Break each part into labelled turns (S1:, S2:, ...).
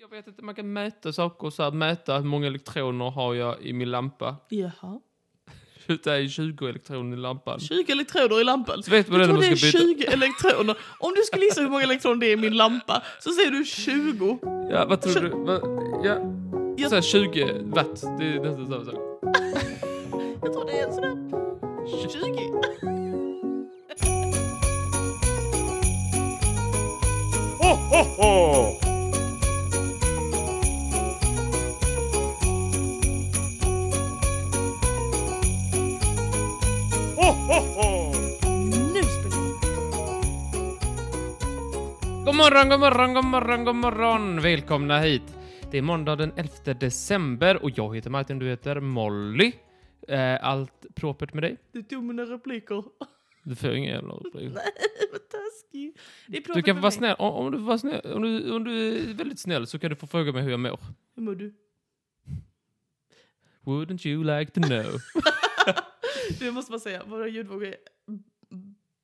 S1: Jag vet inte, man kan mäta saker så här, mäta hur många elektroner har jag i min lampa.
S2: Jaha.
S1: Det är 20 elektroner i lampan.
S2: 20 elektroder i lampan.
S1: Så vet man det när
S2: tror
S1: man
S2: det är
S1: ska byta.
S2: 20 elektroner. Om du skulle gissa hur många elektroner det är i min lampa så säger du 20.
S1: Ja, vad tror du? Vad, ja.
S2: Jag-
S1: Så här, 20 watt, det är nästan samma sak.
S2: Jag tror det är sådär 20. Nu spelar
S1: God morgon, god morgon, god morgon, god morgon. Välkomna hit. Det är måndag den 11 december och jag heter Martin, du heter Molly. Eh, allt propert med dig?
S2: Du tog mina repliker.
S1: Du får ingen jävla replik.
S2: Vad taskig. Det
S1: Du
S2: är propert
S1: kan
S2: med
S1: vara
S2: mig.
S1: snäll. Om, om, du var snäll om, du, om du är väldigt snäll så kan du få fråga mig hur jag mår.
S2: Hur mår du?
S1: Wouldn't you like to know?
S2: Du jag måste bara säga, våra ljudvågor är b-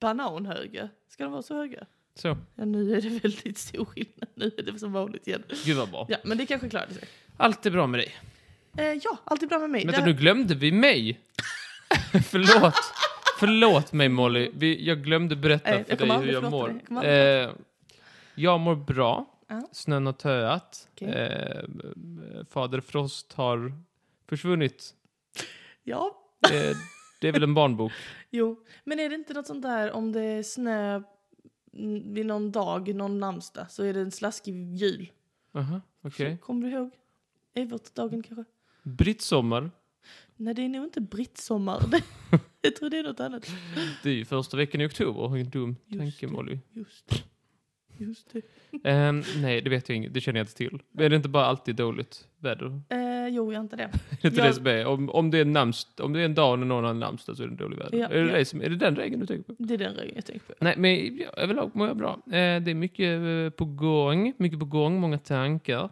S2: bananhöga. Ska de vara så höga?
S1: Så,
S2: Ja, nu är det väldigt stor skillnad. Nu är det som vanligt igen.
S1: gud vad bra.
S2: Ja, men det kanske klarar sig.
S1: Allt är bra med dig.
S2: Eh, ja, allt är bra med mig. Det
S1: Vänta,
S2: här-
S1: nu glömde vi mig. Förlåt. Förlåt mig Molly. Vi, jag glömde berätta
S2: Nej, jag
S1: för
S2: kommer
S1: dig hur
S2: aldrig
S1: jag
S2: förlåta
S1: mår.
S2: dig. Jag kommer
S1: eh, jag mår bra.
S2: Ja.
S1: Snön har töat.
S2: Okej.
S1: Eh, fader Frost har försvunnit.
S2: Ja,
S1: Eh, det är väl en barnbok?
S2: jo. Men är det inte något sånt där om det är snö mm, vid någon dag, någon namnsdag, så är det en slaskig jul?
S1: Aha, okej.
S2: Kommer du ihåg? Evertdagen kanske?
S1: Brittsommar.
S2: Nej, det är nog inte brittsommar. Det- jag tror det är något annat.
S1: Det är ju första veckan i oktober. Vilken dum
S2: Just
S1: tanke
S2: det.
S1: Molly.
S2: Just det. Just det.
S1: Ehm, nej, det vet jag inget. Det känner jag inte till. Men är det inte bara alltid dåligt väder?
S2: Eh, jo, jag har inte det.
S1: Är det inte
S2: Jag-
S1: det som är? Om, om, det är namns, om det är en dag när någon har namnsdag så är det dålig väder.
S2: Ja,
S1: är, det
S2: ja.
S1: det som, är det den regeln du tänker på?
S2: Det är den regeln jag tänker på.
S1: Nej, men jag- överlag mår jag bra. Eh, det är mycket eh, på gång, mycket på gång, många tankar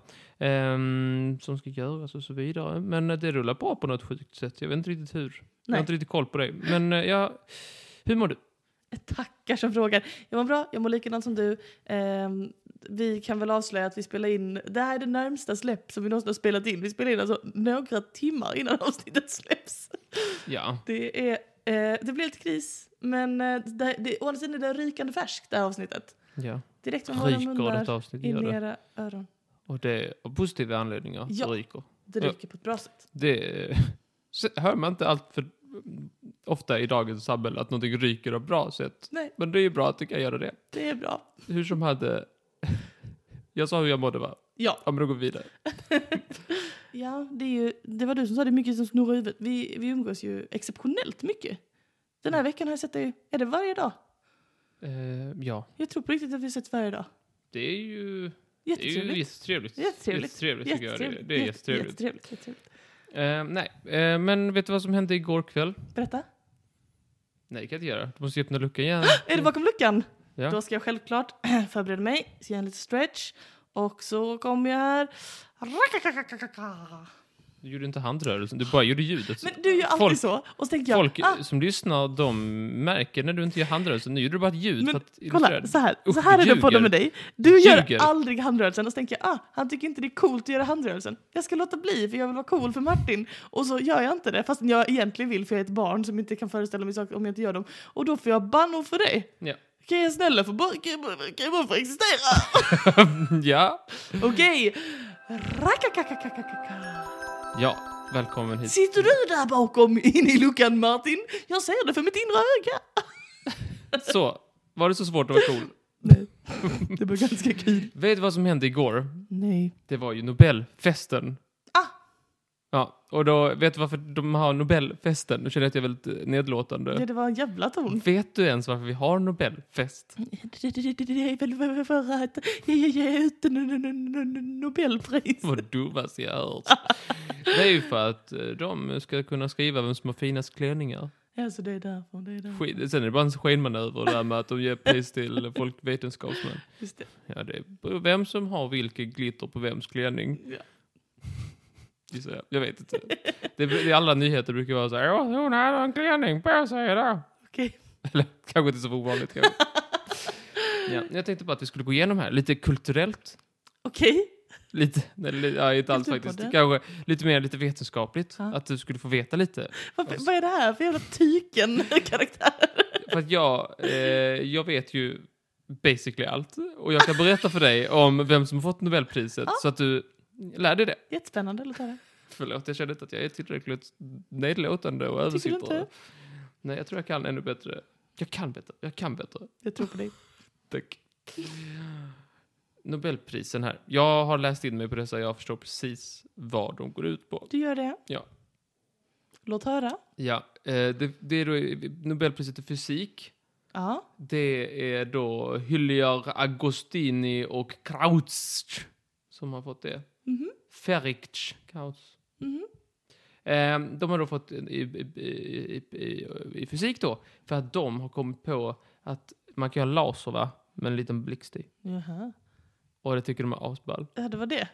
S1: ehm, som ska göras och så vidare. Men eh, det rullar på på något sjukt sätt. Jag vet inte riktigt hur. Jag har
S2: Nej.
S1: inte riktigt koll på dig. Men eh, jag, hur mår du?
S2: Tackar som frågar. Jag mår bra, jag mår likadant som du. Ehm, vi kan väl avslöja att vi spelar in, det här är det närmsta släpp som vi någonsin har spelat in. Vi spelar in alltså några timmar innan avsnittet släpps.
S1: Ja,
S2: Det, är, eh, det blir lite kris, men eh, det, det, å andra sidan är det rykande färskt det här avsnittet.
S1: ja.
S2: Direkt från våra
S1: Ryker detta
S2: munnar
S1: avsnitt gör
S2: in i
S1: det.
S2: era öron.
S1: Och det är av positiva anledningar
S2: Ja.
S1: det ryker.
S2: Det
S1: Ja.
S2: ryker på ett bra sätt.
S1: Det så hör man inte allt för ofta i dagens samhälle att någonting ryker av bra sätt.
S2: Nej,
S1: Men det är ju bra att du kan göra det.
S2: det är bra.
S1: Hur som hade... Jag sa hur jag mådde va?
S2: Ja,
S1: Ja men då går vi vidare.
S2: ja det, är ju, det var du som sa det är mycket som snurrar i huvudet. Vi, vi umgås ju exceptionellt mycket. Den
S1: Mm.
S2: här veckan har jag sett dig, är det varje dag?
S1: Eh, ja,
S2: Jag tror på riktigt att vi har sett varje dag.
S1: det är ju... Det är ju
S2: Jättetrevligt.
S1: jättetrevligt.
S2: Jättetrevligt.
S1: Jättetrevligt tycker jag. Det, det är
S2: Jätte-
S1: jättetrevligt.
S2: jättetrevligt, jättetrevligt.
S1: Eh, nej, eh, men vet du vad som hände igår kväll?
S2: Berätta.
S1: Mm. Nej, det kan jag inte göra. Du måste öppna luckan igen.
S2: Ah, Är det bakom luckan?
S1: Ja.
S2: Då ska jag självklart förbereda mig, så jag gör en liten stretch. Och så kommer jag här. Rakakakakaka.
S1: Du gjorde inte handrörelsen, du bara gjorde ljudet.
S2: Men du gör alltid
S1: Folk-
S2: så. Och så tänker jag,
S1: Folk
S2: ah,
S1: som lyssnar, de märker när du inte gör handrörelsen. Nu gjorde du bara ett ljud för
S2: men
S1: att illustrera.
S2: kolla, så här,
S1: Usch,
S2: så här
S1: du
S2: är det på
S1: ljuger.
S2: dem med dig. Du gör
S1: Ljuger.
S2: aldrig handrörelsen och så tänker jag, ah, han tycker inte det är coolt att göra handrörelsen. Jag ska låta bli för jag vill vara cool för Martin. Och så gör jag inte det fast jag egentligen vill för jag är ett barn som inte kan föreställa mig saker om jag inte gör dem. Och då får jag bannor för dig.
S1: Ja.
S2: Kan jag snälla få bara, kan jag bara, kan jag bara få existera?
S1: ja.
S2: Okej. Rakakakakakaka.
S1: Ja, välkommen hit.
S2: Sitter du där bakom in i luckan Martin? Jag ser det för mitt inre öga.
S1: Så, var det så svårt att vara cool?
S2: Nej, det var ganska kul.
S1: Vet du vad som hände igår?
S2: Nej.
S1: Det var ju Nobelfesten.
S2: Ah.
S1: Ja, och då, vet du varför de har Nobelfesten? Nu känner jag att jag är väldigt eh, nedlåtande.
S2: Ja, det var en jävla ton.
S1: Vet du ens varför vi har Nobelfest?
S2: Det är väl för att jag ger ut en- en- en- en Nobelpris.
S1: Vad dummaste jag hört. Det är ju för att eh, de ska kunna skriva vem som har finast klänningar.
S2: Alltså det är därför, det är därför.
S1: Skit- Sen är det bara en skenmanöver där med att de ger pris till folk vetenskapsmän.
S2: Just det.
S1: Ja, det beror vem som har vilken glitter på vems klänning.
S2: Ja.
S1: Gissar jag. Jag vet inte. Det, det, är alla nyheter brukar vara så här, "Åh, hon hade en klänning på sig idag.
S2: Okej.
S1: Eller kanske inte så ovanligt. kanske. ja, jag tänkte bara att vi skulle gå igenom här, lite kulturellt.
S2: Okej.
S1: Lite, eller, ja, inte alls
S2: Kulturpodden.
S1: faktiskt. Kanske lite mer lite vetenskapligt.
S2: Ja.
S1: Att du skulle få veta lite.
S2: Varför,
S1: Alltså-
S2: vad är det här för jävla tyken karaktär?
S1: För att jag, eh, jag vet ju basically allt. Och jag kan berätta för dig om vem som har fått Nobelpriset. Så att du lär dig det.
S2: Jättespännande, låt höra.
S1: Förlåt, jag kände inte att jag är tillräckligt nedlåtande och
S2: Tycker du
S1: översiktlig.
S2: inte?
S1: Nej, jag tror jag kan ännu bättre. Jag kan bättre. Jag kan bättre.
S2: Jag tror på dig.
S1: Tack. Nobelprisen här. Jag har läst in mig på dessa. Jag förstår precis vad de går ut på.
S2: Du gör det?
S1: Ja.
S2: Låt höra.
S1: Ja, eh, det, det är då Nobelpriset i fysik.
S2: Ja.
S1: Det är då Hyljar Agostini och Krautsch som har fått det.
S2: Mhm.
S1: Ferrich Krautsch.
S2: Mhm.
S1: Eh, De har då fått i, i, i, i, i fysik då, för att de har kommit på att man kan göra laser va, med en liten blixt i.
S2: Jaha.
S1: Och det tycker de är asball.
S2: Ja, det var det.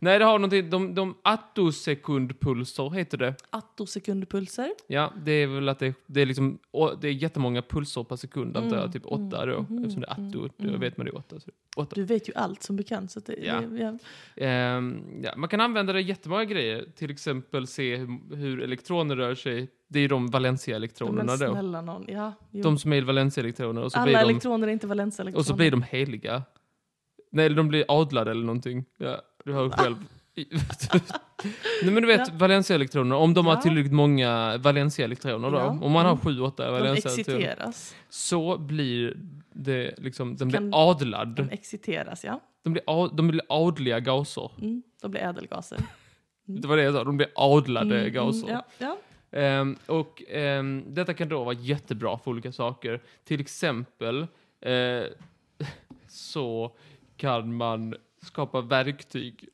S1: Nej, det har någonting, de, de attosekundpulser heter det.
S2: Attosekundpulser.
S1: Ja, det är väl att det, det är liksom, å- det är jättemånga pulser per sekund antar jag,
S2: Mm,
S1: typ åtta då,
S2: mm,
S1: eftersom det är
S2: mm,
S1: atto, då
S2: mm.
S1: vet man det är åtta. Så. åtta.
S2: Du vet ju allt som bekant. Så att det,
S1: Ja.
S2: det, ja.
S1: Ehm, ja, man kan använda det i jättemånga grejer, till exempel se hur, hur elektroner rör sig. Det är ju de Valencia-elektronerna
S2: Men
S1: då.
S2: snälla någon. Ja, jo.
S1: De som är Valencia-elektroner och så,
S2: Alla
S1: blir de,
S2: elektroner är inte Valencia-elektroner.
S1: och så blir de heliga. Nej, eller de blir adlade eller någonting. Ja, du hör själv. Nej men du vet,
S2: Ja.
S1: Valencia-elektronerna, om de har
S2: Ja.
S1: tillräckligt många Valencia-elektroner då,
S2: Ja.
S1: om man har
S2: Mm.
S1: sju, åtta
S2: De
S1: Valencia-elektroner,
S2: exciteras.
S1: så blir det liksom, den blir
S2: Kan- De
S1: adlad.
S2: exciteras, ja.
S1: De blir, ad, de blir adliga gaser.
S2: Mm. De blir ädelgaser. Mm.
S1: Det var det jag sa, de blir adlade
S2: Mm,
S1: gaser.
S2: mm, Ja, ja.
S1: Ehm, och ehm, detta kan då vara jättebra för olika saker. Till exempel eh, så kan man skapa verktyg,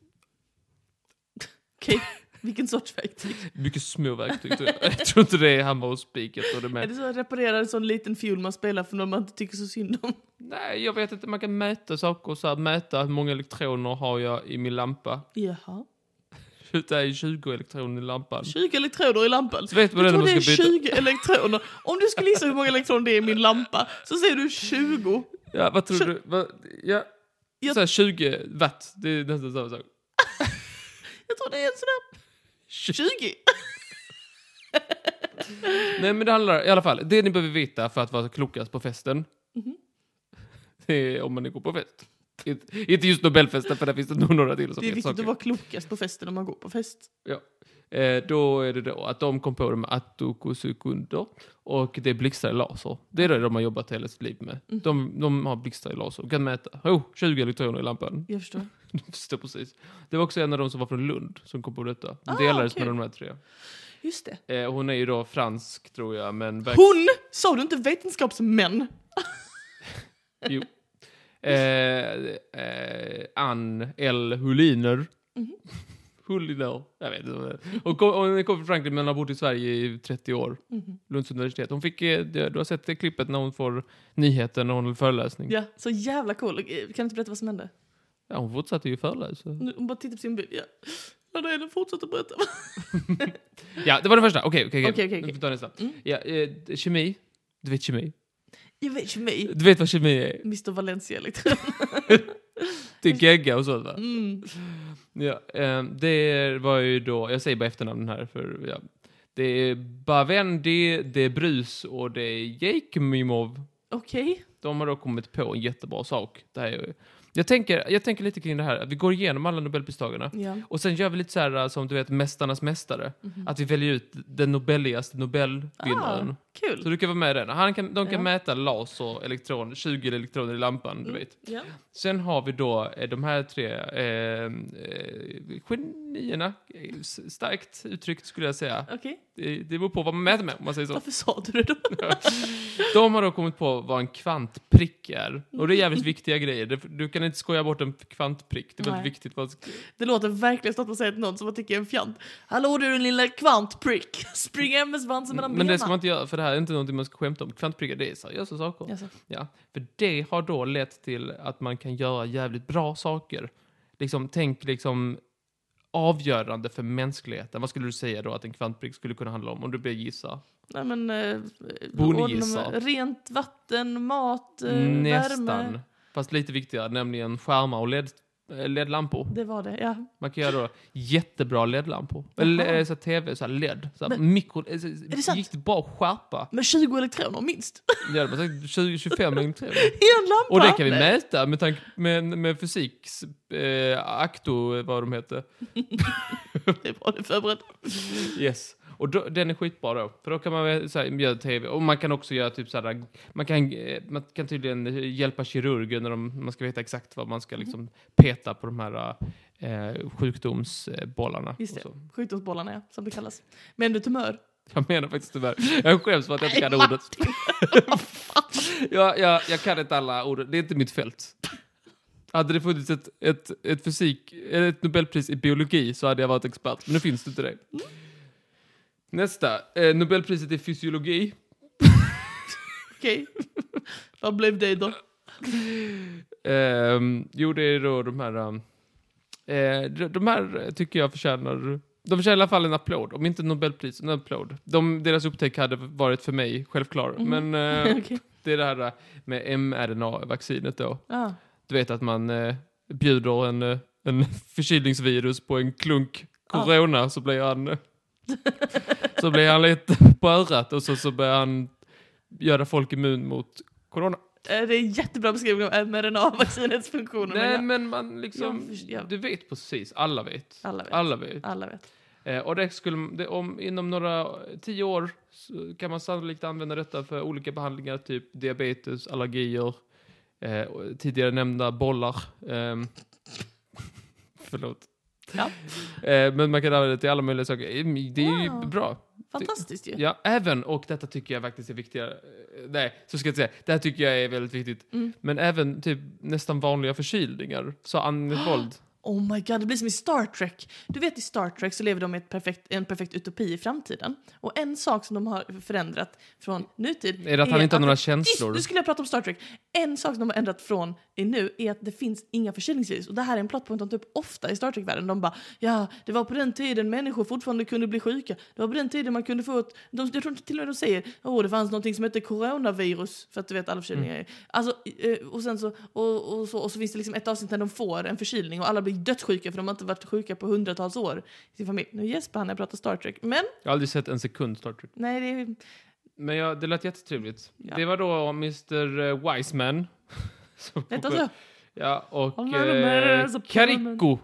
S2: Okej, vilken sorts verktyg?
S1: mycket små verktyg. tror jag. jag tror inte det är hammare och spiket och det
S2: Är
S1: med.
S2: det så att reparera en sån liten fiol man spelar för någon man inte tycker så synd om?
S1: Nej, jag vet inte, man kan mäta saker så här, mäta hur många elektroner har jag i min lampa.
S2: Jaha.
S1: Det är 20 elektroner i lampan.
S2: 20 elektroder i lampan.
S1: Så vet man
S2: Jag
S1: det när
S2: tror
S1: man
S2: det är
S1: ska byta.
S2: 20 elektroner. Om du skulle gissa hur många elektroner det är i min lampa så säger du 20.
S1: Ja, vad tror
S2: Tju-
S1: du? Vad, ja.
S2: Jag-
S1: Så här 20 watt, det är nästan samma sak.
S2: Jag tror det är en sån där 20.
S1: Nej men det handlar i alla fall, det ni behöver veta för att vara klokast på festen.
S2: Mhm.
S1: Det är om man går på fest. Inte- Inte just Nobelfesten för där finns det nog några till som
S2: Det är
S1: vet
S2: viktigt att
S1: saker.
S2: vara klokast på festen om man går på fest.
S1: Eh, då är det då att de kom på de atokosekunder och det är blixtar i laser. Det är det de har jobbat hela sitt liv med.
S2: Mhm.
S1: De, de har blixtar i laser och kan mäta. Oh, 20 elektroner i lampan.
S2: Jag förstår.
S1: De förstår precis. Det var också en av de som var från Lund som kom på detta.
S2: Ah,
S1: Det delades
S2: kul.
S1: mellan de här tre.
S2: Just det.
S1: Eh, hon är ju då fransk tror jag, men... verk-
S2: Hon! Sa du inte vetenskapsmän?
S1: Jo. Eh, eh, Ann L. Huliner.
S2: Mhm.
S1: Huliner. Jag vet inte. Hon kom, hon kom från Frankrike men har bott i Sverige i 30 år.
S2: Mhm.
S1: Lunds universitet. Hon fick, eh, du du har sett det klippet när hon får nyheten när hon håller föreläsning.
S2: Ja, så jävla cool. Kan du inte berätta vad som hände?
S1: Ja, hon fortsatte ju föreläsa.
S2: Nu- Hon bara tittar på sin bild. Ja. Ladda Ellen fortsätter berätta.
S1: Ja, det var den första. Okej, okej,
S2: Okej, okej,
S1: Nu får
S2: okej.
S1: vi ta nästa.
S2: Mm.
S1: Ja, eh, kemi. Du vet kemi.
S2: Jag vet ju mig.
S1: Du vet vad kemi är?
S2: Mr Valencia elektron.
S1: Det är gegga och sånt va?
S2: Mm.
S1: Ja, ehm, det var ju då, jag säger bara efternamnen här för, ja. Det är Bavendi, det är Brus och det är Jakimimov.
S2: Okej.
S1: De har då kommit på en jättebra sak. Det här är, ju- jag, tänker, jag tänker lite kring det här, att vi går igenom alla nobelpristagarna.
S2: Ja.
S1: Och sen gör vi lite så här äh, som du vet, mästarnas mästare.
S2: Mhm.
S1: Att vi väljer ut den nobeligaste nobelvinnaren.
S2: Ah, kul.
S1: Så du kan vara med i den. Han kan, de kan
S2: Ja. Mm.
S1: mäta laser, elektron, 20 elektroner i lampan, du vet.
S2: Ja.
S1: Sen har vi då eh, de här tre eh, eh, genierna, eh, s- starkt uttryckt skulle jag säga.
S2: Okej.
S1: Det, det beror på vad man mäter med, om man säger så.
S2: Varför sa du det då?
S1: De har då kommit på vad en kvantprick är. Och det är jävligt viktiga grejer. Det- Du kan inte skoja bort en kvantprick. Det är väldigt
S2: Nej.
S1: viktigt. vad-
S2: Det låter verkligen som att man säger till någon som man tycker är en fjant. Hallå du din lilla kvantprick. Spring hem med svansen mellan
S1: Men det ska man
S2: benen.
S1: inte göra, för det här är inte någonting man ska skämta om. Kvantprickar, det är seriösa saker.
S2: Jaså.
S1: Ja, för det har då lett till att man kan göra jävligt bra saker. Liksom, tänk liksom avgörande för mänskligheten. Vad skulle du säga då att en kvantprick skulle kunna handla om? Om du ber gissa.
S2: Nej men... Eh,
S1: Bondgissa.
S2: ordna- rent vatten, mat, eh,
S1: Mm, Nästan.
S2: värme.
S1: Fast lite viktigare, nämligen skärmar och LED eh, LED-lampor.
S2: Det var det, ja.
S1: Man kan göra då jättebra LED-lampor. Eller eh, så här TV, så här LED. Så här
S2: Men-
S1: mikro... eh, så-
S2: det sant?
S1: Riktigt bra skärpa.
S2: Med 20 elektroner minst
S1: Det hade man sagt 20-25 elektroner.
S2: i en lampa.
S1: Och det kan vi
S2: Nej.
S1: mäta med, tank, med, med fysiks... Eh, akto, vad de heter.
S2: Det är bra, det är förberett.
S1: Yes. Och då, den är skitbra då. För då kan man väl så här, göra tv. Och man kan också göra typ så här... Man kan, eh, man kan tydligen eh, hjälpa kirurgen när de, man ska veta exakt vad man
S2: Mhm.
S1: ska liksom peta på de här eh, sjukdomsbollarna.
S2: Just
S1: och
S2: det.
S1: så.
S2: Sjukdomsbollarna, ja, som det kallas. Men du tumör.
S1: Jag menar faktiskt tyvärr. Jag skäms för att jag inte kan
S2: Nej,
S1: ordet. jag, jag, jag kan inte alla ord. Det är inte mitt fält. Hade det funnits ett, ett, ett, fysik, eller ett Nobelpris i biologi så hade jag varit expert. Men nu finns det inte det.
S2: Mm.
S1: Nästa. Eh, Nobelpriset i fysiologi.
S2: Okej. Vad blev det då?
S1: Eh. Ehm, jo, det är då de här... ehm, eh, de- de här tycker jag förtjänar... De förtjänar i alla fall en applåd. Om inte Nobelpris, en applåd. De, deras upptäck hade varit för mig självklar. Men eh,
S2: Okej.
S1: Det är det här med mRNA-vaccinet då.
S2: Ja.
S1: Du vet att man eh, bjuder en, eh, en förkylningsvirus på en klunk corona så blir han eh, så blir han lite på örat och så, så börjar han göra folk immun mot corona.
S2: Eh, Det är en jättebra beskrivning av mRNA-vaccinets funktioner.
S1: Nej,
S2: men
S1: men man liksom...
S2: Jag först- jag-
S1: Du vet precis, alla vet.
S2: Alla vet.
S1: Alla vet.
S2: jag- Alla vet.
S1: Eh, och det skulle, det, om, inom några eh, tio år så kan man sannolikt använda detta för olika behandlingar, typ diabetes, allergier, eh, och tidigare nämnda bollar. ehm. förlåt.
S2: Ja.
S1: Eh, men man kan använda det till alla möjliga saker. Eh, Det är ju
S2: Wow.
S1: bra.
S2: Fantastiskt ju.
S1: Ja, även, och detta tycker jag faktiskt är viktigare, eh, nej, så ska jag inte säga, det här tycker jag är väldigt viktigt,
S2: Mm.
S1: men även typ nästan vanliga förkylningar, sa Anne Wold.
S2: Oh my god, det blir som i Star Trek. Du vet i Star Trek så lever de i ett perfekt, en perfekt utopi i framtiden. Och en sak som de har förändrat från nutid
S1: Är det att han inte har några känslor?
S2: Just, nu skulle jag prata om Star Trek. En sak som de har ändrat från i nu är att det finns inga förkylningsvirus. Och det här är en plotpoint de tar upp ofta i Star Trek-världen. De bara, ja, det var på den tiden människor fortfarande kunde bli sjuka. Det var på den tiden man kunde få ett... De, jag tror till och med de säger, åh, det fanns någonting som hette coronavirus. För att du vet, alla förkylningar är... Alltså, eh, och sen så... Och, och så, och så finns det liksom ett avsnitt där de får en förkylning och alla blir dödssjuka för de har inte varit sjuka på hundratals år i sin familj. Nu gäspar han när jag pratar Star Trek. Men,
S1: Jag har aldrig sett en sekund Star Trek.
S2: nej, det är...
S1: Men ja, det lät jättetrevligt.
S2: Ja.
S1: Det var då Mr. Wiseman. som-
S2: Hette han så?
S1: Ja,
S2: Han
S1: och
S2: var den där
S1: eh,
S2: som-
S1: Karikko.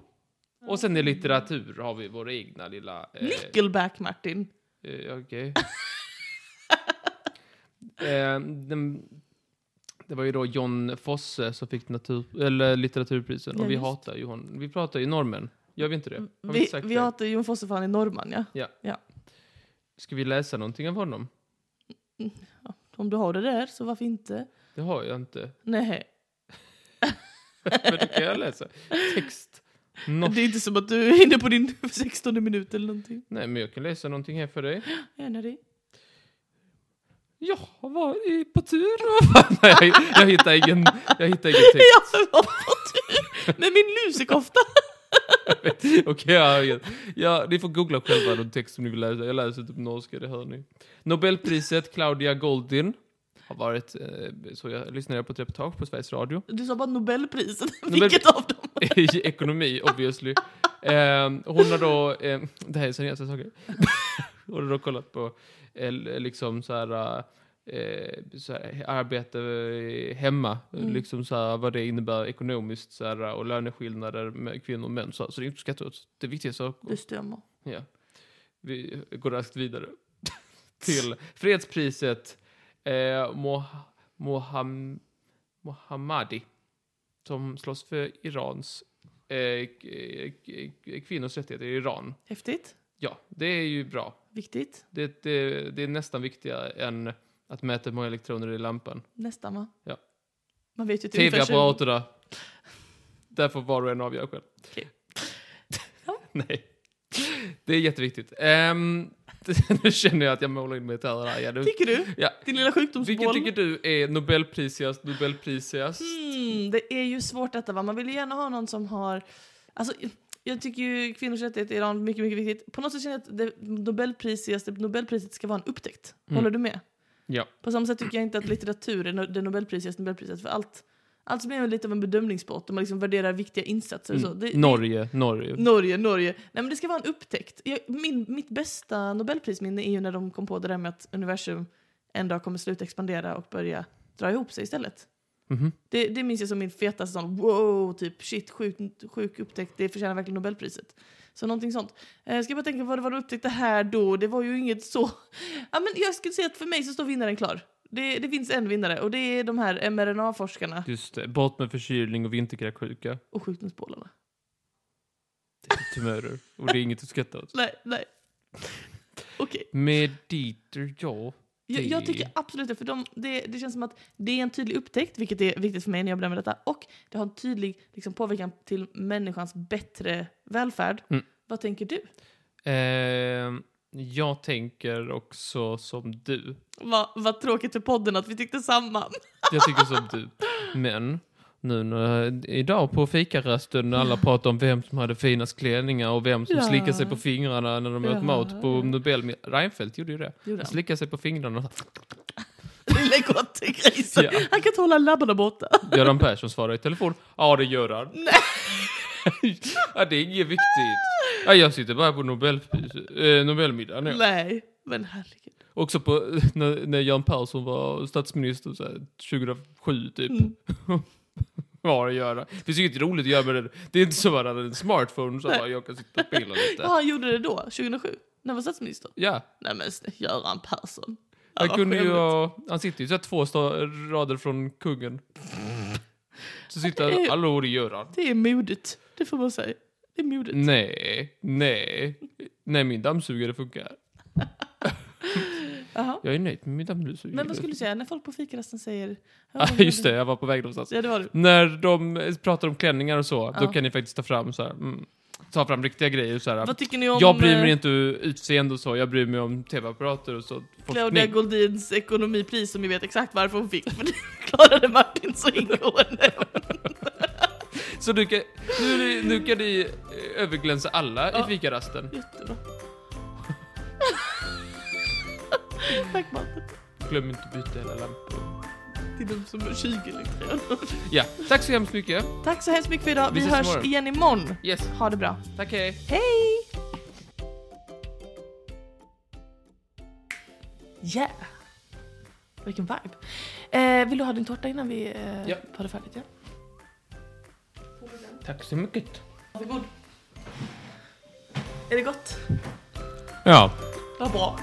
S1: Och sen i litteratur har vi vår egna lilla... Eh,
S2: Nickelback, Martin.
S1: eh, Okej. eh, den, det var ju då John Fosse som fick natur, eller litteraturprisen.
S2: Ja,
S1: och vi
S2: just.
S1: hatar ju hon. Vi pratar ju normen. Gör vi inte det? Har vi,
S2: Mm, Vi,
S1: inte sagt
S2: vi
S1: det?
S2: hatar Jon Fosse för han är norrman, ja.
S1: Ska vi läsa någonting av honom?
S2: Om du har det där, så varför inte?
S1: Det har jag inte.
S2: Nej.
S1: Men det kan jag läsa. Text. Norsk.
S2: Det är inte som att du är inne på din 16 minut eller någonting.
S1: Nej, men jag kan läsa någonting här för dig.
S2: Gärna det.
S1: Jag har varit på tur. Nej, jag, jag hittar ingen, jag hittar ingen text.
S2: Jag har fått tur med min lusekofta.
S1: Okej, jag har ingen. Ja, ni får googla själva den text som ni vill läsa. Jag läser typ norska, det hör ni. Nobelpriset Claudia Goldin har varit, eh, så jag lyssnade på ett reportage på Sveriges Radio.
S2: Du sa bara Nobelpriset.
S1: Nobel-
S2: Vilket av dem?
S1: I ekonomi, obviously. Eh, hon har då, eh, det här är seriösa saker. hon har då kollat på eh, liksom så här, eh, så här arbete eh, hemma, liksom så här, vad det innebär ekonomiskt så här, och löneskillnader med kvinnor och män. Så, här. så det är inte skatteåt. Det är viktiga saker.
S2: Det stämmer.
S1: Ja. Vi går raskt vidare till fredspriset eh, Moha- Moham, Mohammadi som slåss för Irans eh, k- k- k- kvinnors rättigheter i Iran.
S2: Häftigt.
S1: Ja, det är ju bra.
S2: Viktigt.
S1: Det, det, det är nästan viktigare än att mäta hur många elektroner i lampan.
S2: Nästan va?
S1: Ja.
S2: Man vet ju att det är ungefär tjugo-
S1: TV-apparaterna. Där får var och en avgöra själv.
S2: Okej.
S1: Nej. Det är jätteviktigt. Ehm, nu känner jag att jag målar in mig i ett hörn här. igen.
S2: Tycker du?
S1: Ja.
S2: Din lilla
S1: Vilket
S2: sjukdomsboll.
S1: tycker du är Nobelprisigast, Nobelprisigast?
S2: Mm, det är ju svårt detta va. Man vill ju gärna ha någon som har... Alltså, jag tycker ju kvinnors rättigheter i Iran är mycket, mycket viktigt. På något sätt känner jag att det Nobelprisigaste Nobelpriset ska vara en upptäckt.
S1: Mm.
S2: Håller du med?
S1: Ja.
S2: På samma sätt tycker jag inte att litteratur är no- det Nobelprisigaste Nobelpriset för allt. Alltså blir det lite av en bedömningssport där man liksom värderar viktiga insatser. Och så. Det, det-
S1: Mm. Norge, Norge.
S2: Norge, Norge. Nej men det ska vara en upptäckt. Jag, min, mitt bästa nobelprisminne är ju när de kom på det där med att universum en dag kommer sluta expandera och börja dra ihop sig istället.
S1: Mhm.
S2: Det, det minns jag som min fetaste sån wow, typ shit, sjuk, sjuk upptäckt, det förtjänar verkligen nobelpriset. Så någonting sånt. Eh, Jag ska bara tänka vad det var de upptäckte här då, det var ju inget så... Ja, men jag skulle säga att för mig så står vinnaren klar. Det, det finns en vinnare och det är de här mRNA-forskarna
S1: Just det. Bort med förkylning och vinterkräksjuka.
S2: och sjukdomsbollarna.
S1: Det är Tumörer. Och det är inget att skratta åt.
S2: Nej, nej. Okej.
S1: Med Dieter, ja.
S2: Jag, jag
S1: Det-
S2: tycker absolut det, för de, det, det känns som att det är en tydlig upptäckt, vilket är viktigt för mig när jag bedömer detta, och det har en tydlig liksom, påverkan till människans bättre välfärd.
S1: Mm.
S2: Vad tänker du?
S1: Ehm, jag tänker också som du.
S2: Vad, vad tråkigt för podden att vi tyckte samma.
S1: Jag tycker som du. Men nu när, idag på fikarasten när alla pratar om vem som hade finast klänningar och vem som
S2: Ja.
S1: slickar sig på fingrarna när de åt
S2: Ja.
S1: mat på Nobel... Reinfeldt gjorde ju det.
S2: Gjorde
S1: Han
S2: han?
S1: slickade sig på fingrarna.
S2: Lille gottegrisen.
S1: Ja.
S2: Han kan inte hålla labbarna borta.
S1: Göran Persson svarar i telefon. Ja, det gör han. ja, det är inget viktigt. Ja, jag sitter bara på Nobel, eh, Nobelmiddagen. Ja.
S2: Nej, men herregud.
S1: Också på, när, när Göran Persson var statsminister så här, 2007 typ.
S2: Mm.
S1: Ja, det gör han. Det finns ju inget roligt att göra med det. Det är inte som att han hade en smartphone så
S2: Nej.
S1: bara, jag kan sitta och pilla
S2: Ja,
S1: lite.
S2: han gjorde det då, 2007, när han var statsminister.
S1: Ja,
S2: Nej men snälla, Göran Persson.
S1: han
S2: vad
S1: kunde ju
S2: skämmigt.
S1: ha, han sitter ju så här två sta- rader från kungen. Så sitter
S2: det är
S1: han,
S2: ju-
S1: hallå det gör han.
S2: Det är modigt, det får man säga. Det är modigt.
S1: Mm. Nej, nej, nej min dammsugare funkar.
S2: Jaha.
S1: Jag är nöjd med min dammsugare.
S2: Men vad skulle du säga när folk på fikarasten säger...
S1: Ja, just det, jag var på väg någonstans.
S2: Ja, det var du.
S1: När de pratar om klänningar och så, då
S2: Ja.
S1: kan ni faktiskt ta fram så här, mm, ta fram riktiga grejer så här.
S2: Vad tycker ni om
S1: jag bryr mig
S2: eh,
S1: inte utseende och så, jag bryr mig om tv-apparater och så.
S2: Claudia Goldins ekonomipris som vi vet exakt varför hon fick? För det klarade Martin så ingående.
S1: Så du kan, nu, nu kan ni eh, överglänsa alla
S2: Ja.
S1: i fikarasten.
S2: Jättebra. Tack Martin.
S1: Glöm inte att byta hela lampan.
S2: Till de som är 20 elektroner.
S1: Ja, tack så hemskt mycket.
S2: Tack så hemskt mycket för idag.
S1: Vi
S2: Vi,
S1: ses
S2: hörs
S1: imorgon.
S2: igen imorgon.
S1: Yes,
S2: Ha det bra.
S1: tack hej.
S2: Hej! Yeah! Vilken vibe. Eh, vill du ha din tårta innan vi eh,
S1: Ja.
S2: tar det färdigt? Ja.
S1: Tack så mycket.
S2: Varsågod. Är det gott?
S1: Ja,
S2: Vad bra.